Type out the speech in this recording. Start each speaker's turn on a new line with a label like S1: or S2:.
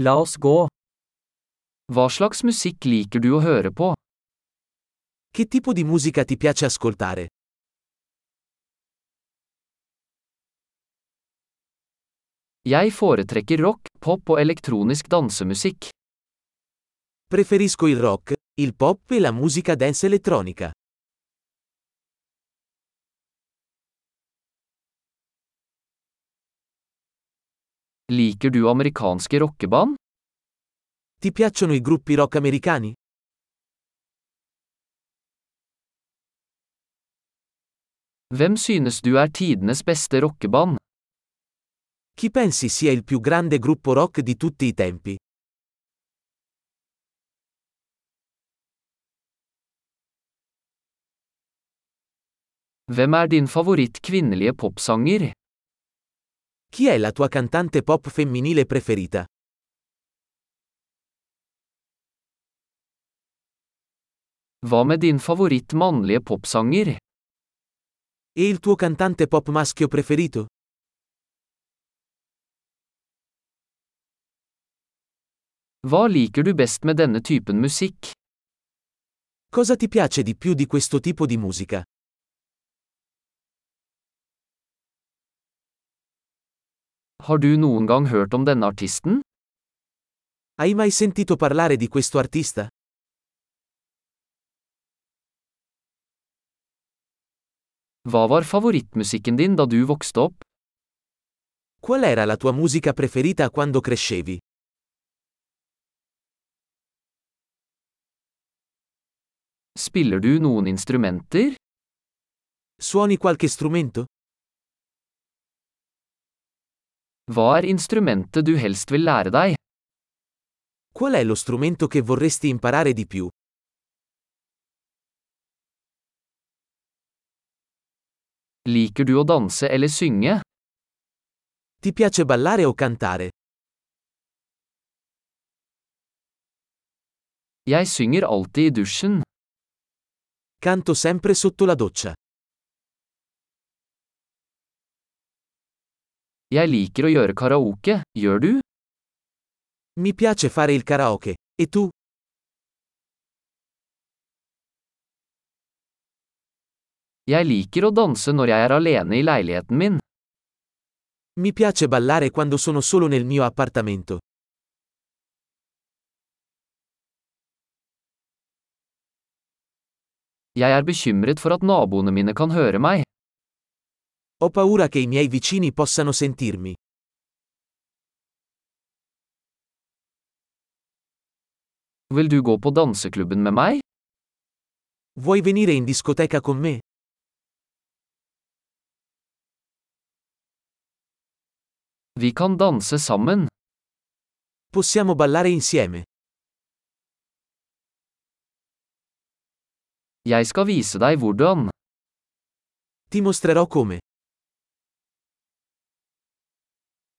S1: La oss gå. Hva slags musikk liker du å høre på?
S2: Che tipo di musica ti piace ascoltare?
S1: Jeg foretrekker rock, pop og elektronisk dansemusikk.
S2: Preferisco il rock, il pop e la musica dance elettronica.
S1: Liker du amerikanske rockeband?
S2: Ti piacciono i gruppi rock americani?
S1: Hvem synes du er tidenes beste rockeband?
S2: Chi pensi sia il più grande gruppo rock di tutti i tempi?
S1: Hvem er din favoritt kvinnelige popsanger?
S2: Chi è la tua cantante pop femminile preferita?
S1: Hva med din favoritt mannlige popsanger?
S2: E il tuo cantante pop maschio preferito?
S1: Hva liker du best med denne typen musikk?
S2: Cosa ti piace di più di questo tipo di musica?
S1: Har du noen gang hørt om denne artisten?
S2: Hai mai sentito parlare di questo artista?
S1: Hva var favorittmusikken din da du vokste opp?
S2: Qual era la tua musica preferita quando crescevi?
S1: Spiller du noen instrumenter?
S2: Suoni qualche strumento?
S1: Hva er instrumentet du helst vil lære deg?
S2: Qual è lo strumento che vorresti imparare di più?
S1: Liker du å danse eller synge?
S2: Ti piace ballare o cantare?
S1: Jeg synger alltid i dusjen.
S2: Canto sempre sotto la doccia.
S1: Jeg liker å gjøre karaoke, gjør du?
S2: Mi piace fare il karaoke. E tu?
S1: Jeg liker å danse når jeg er alene i leiligheten min.
S2: Mi piace ballare quando sono solo nel mio appartamento.
S1: Jeg er bekymret for at naboene mine kan høre meg.
S2: Ho paura che i miei vicini possano sentirmi.
S1: Vil du gå på danseklubben med meg?
S2: Vuoi venire in discoteca con me?
S1: Vi kan danse sammen.
S2: Possiamo ballare insieme.
S1: Jeg skal vise deg hvordan.
S2: Ti mostrerò come.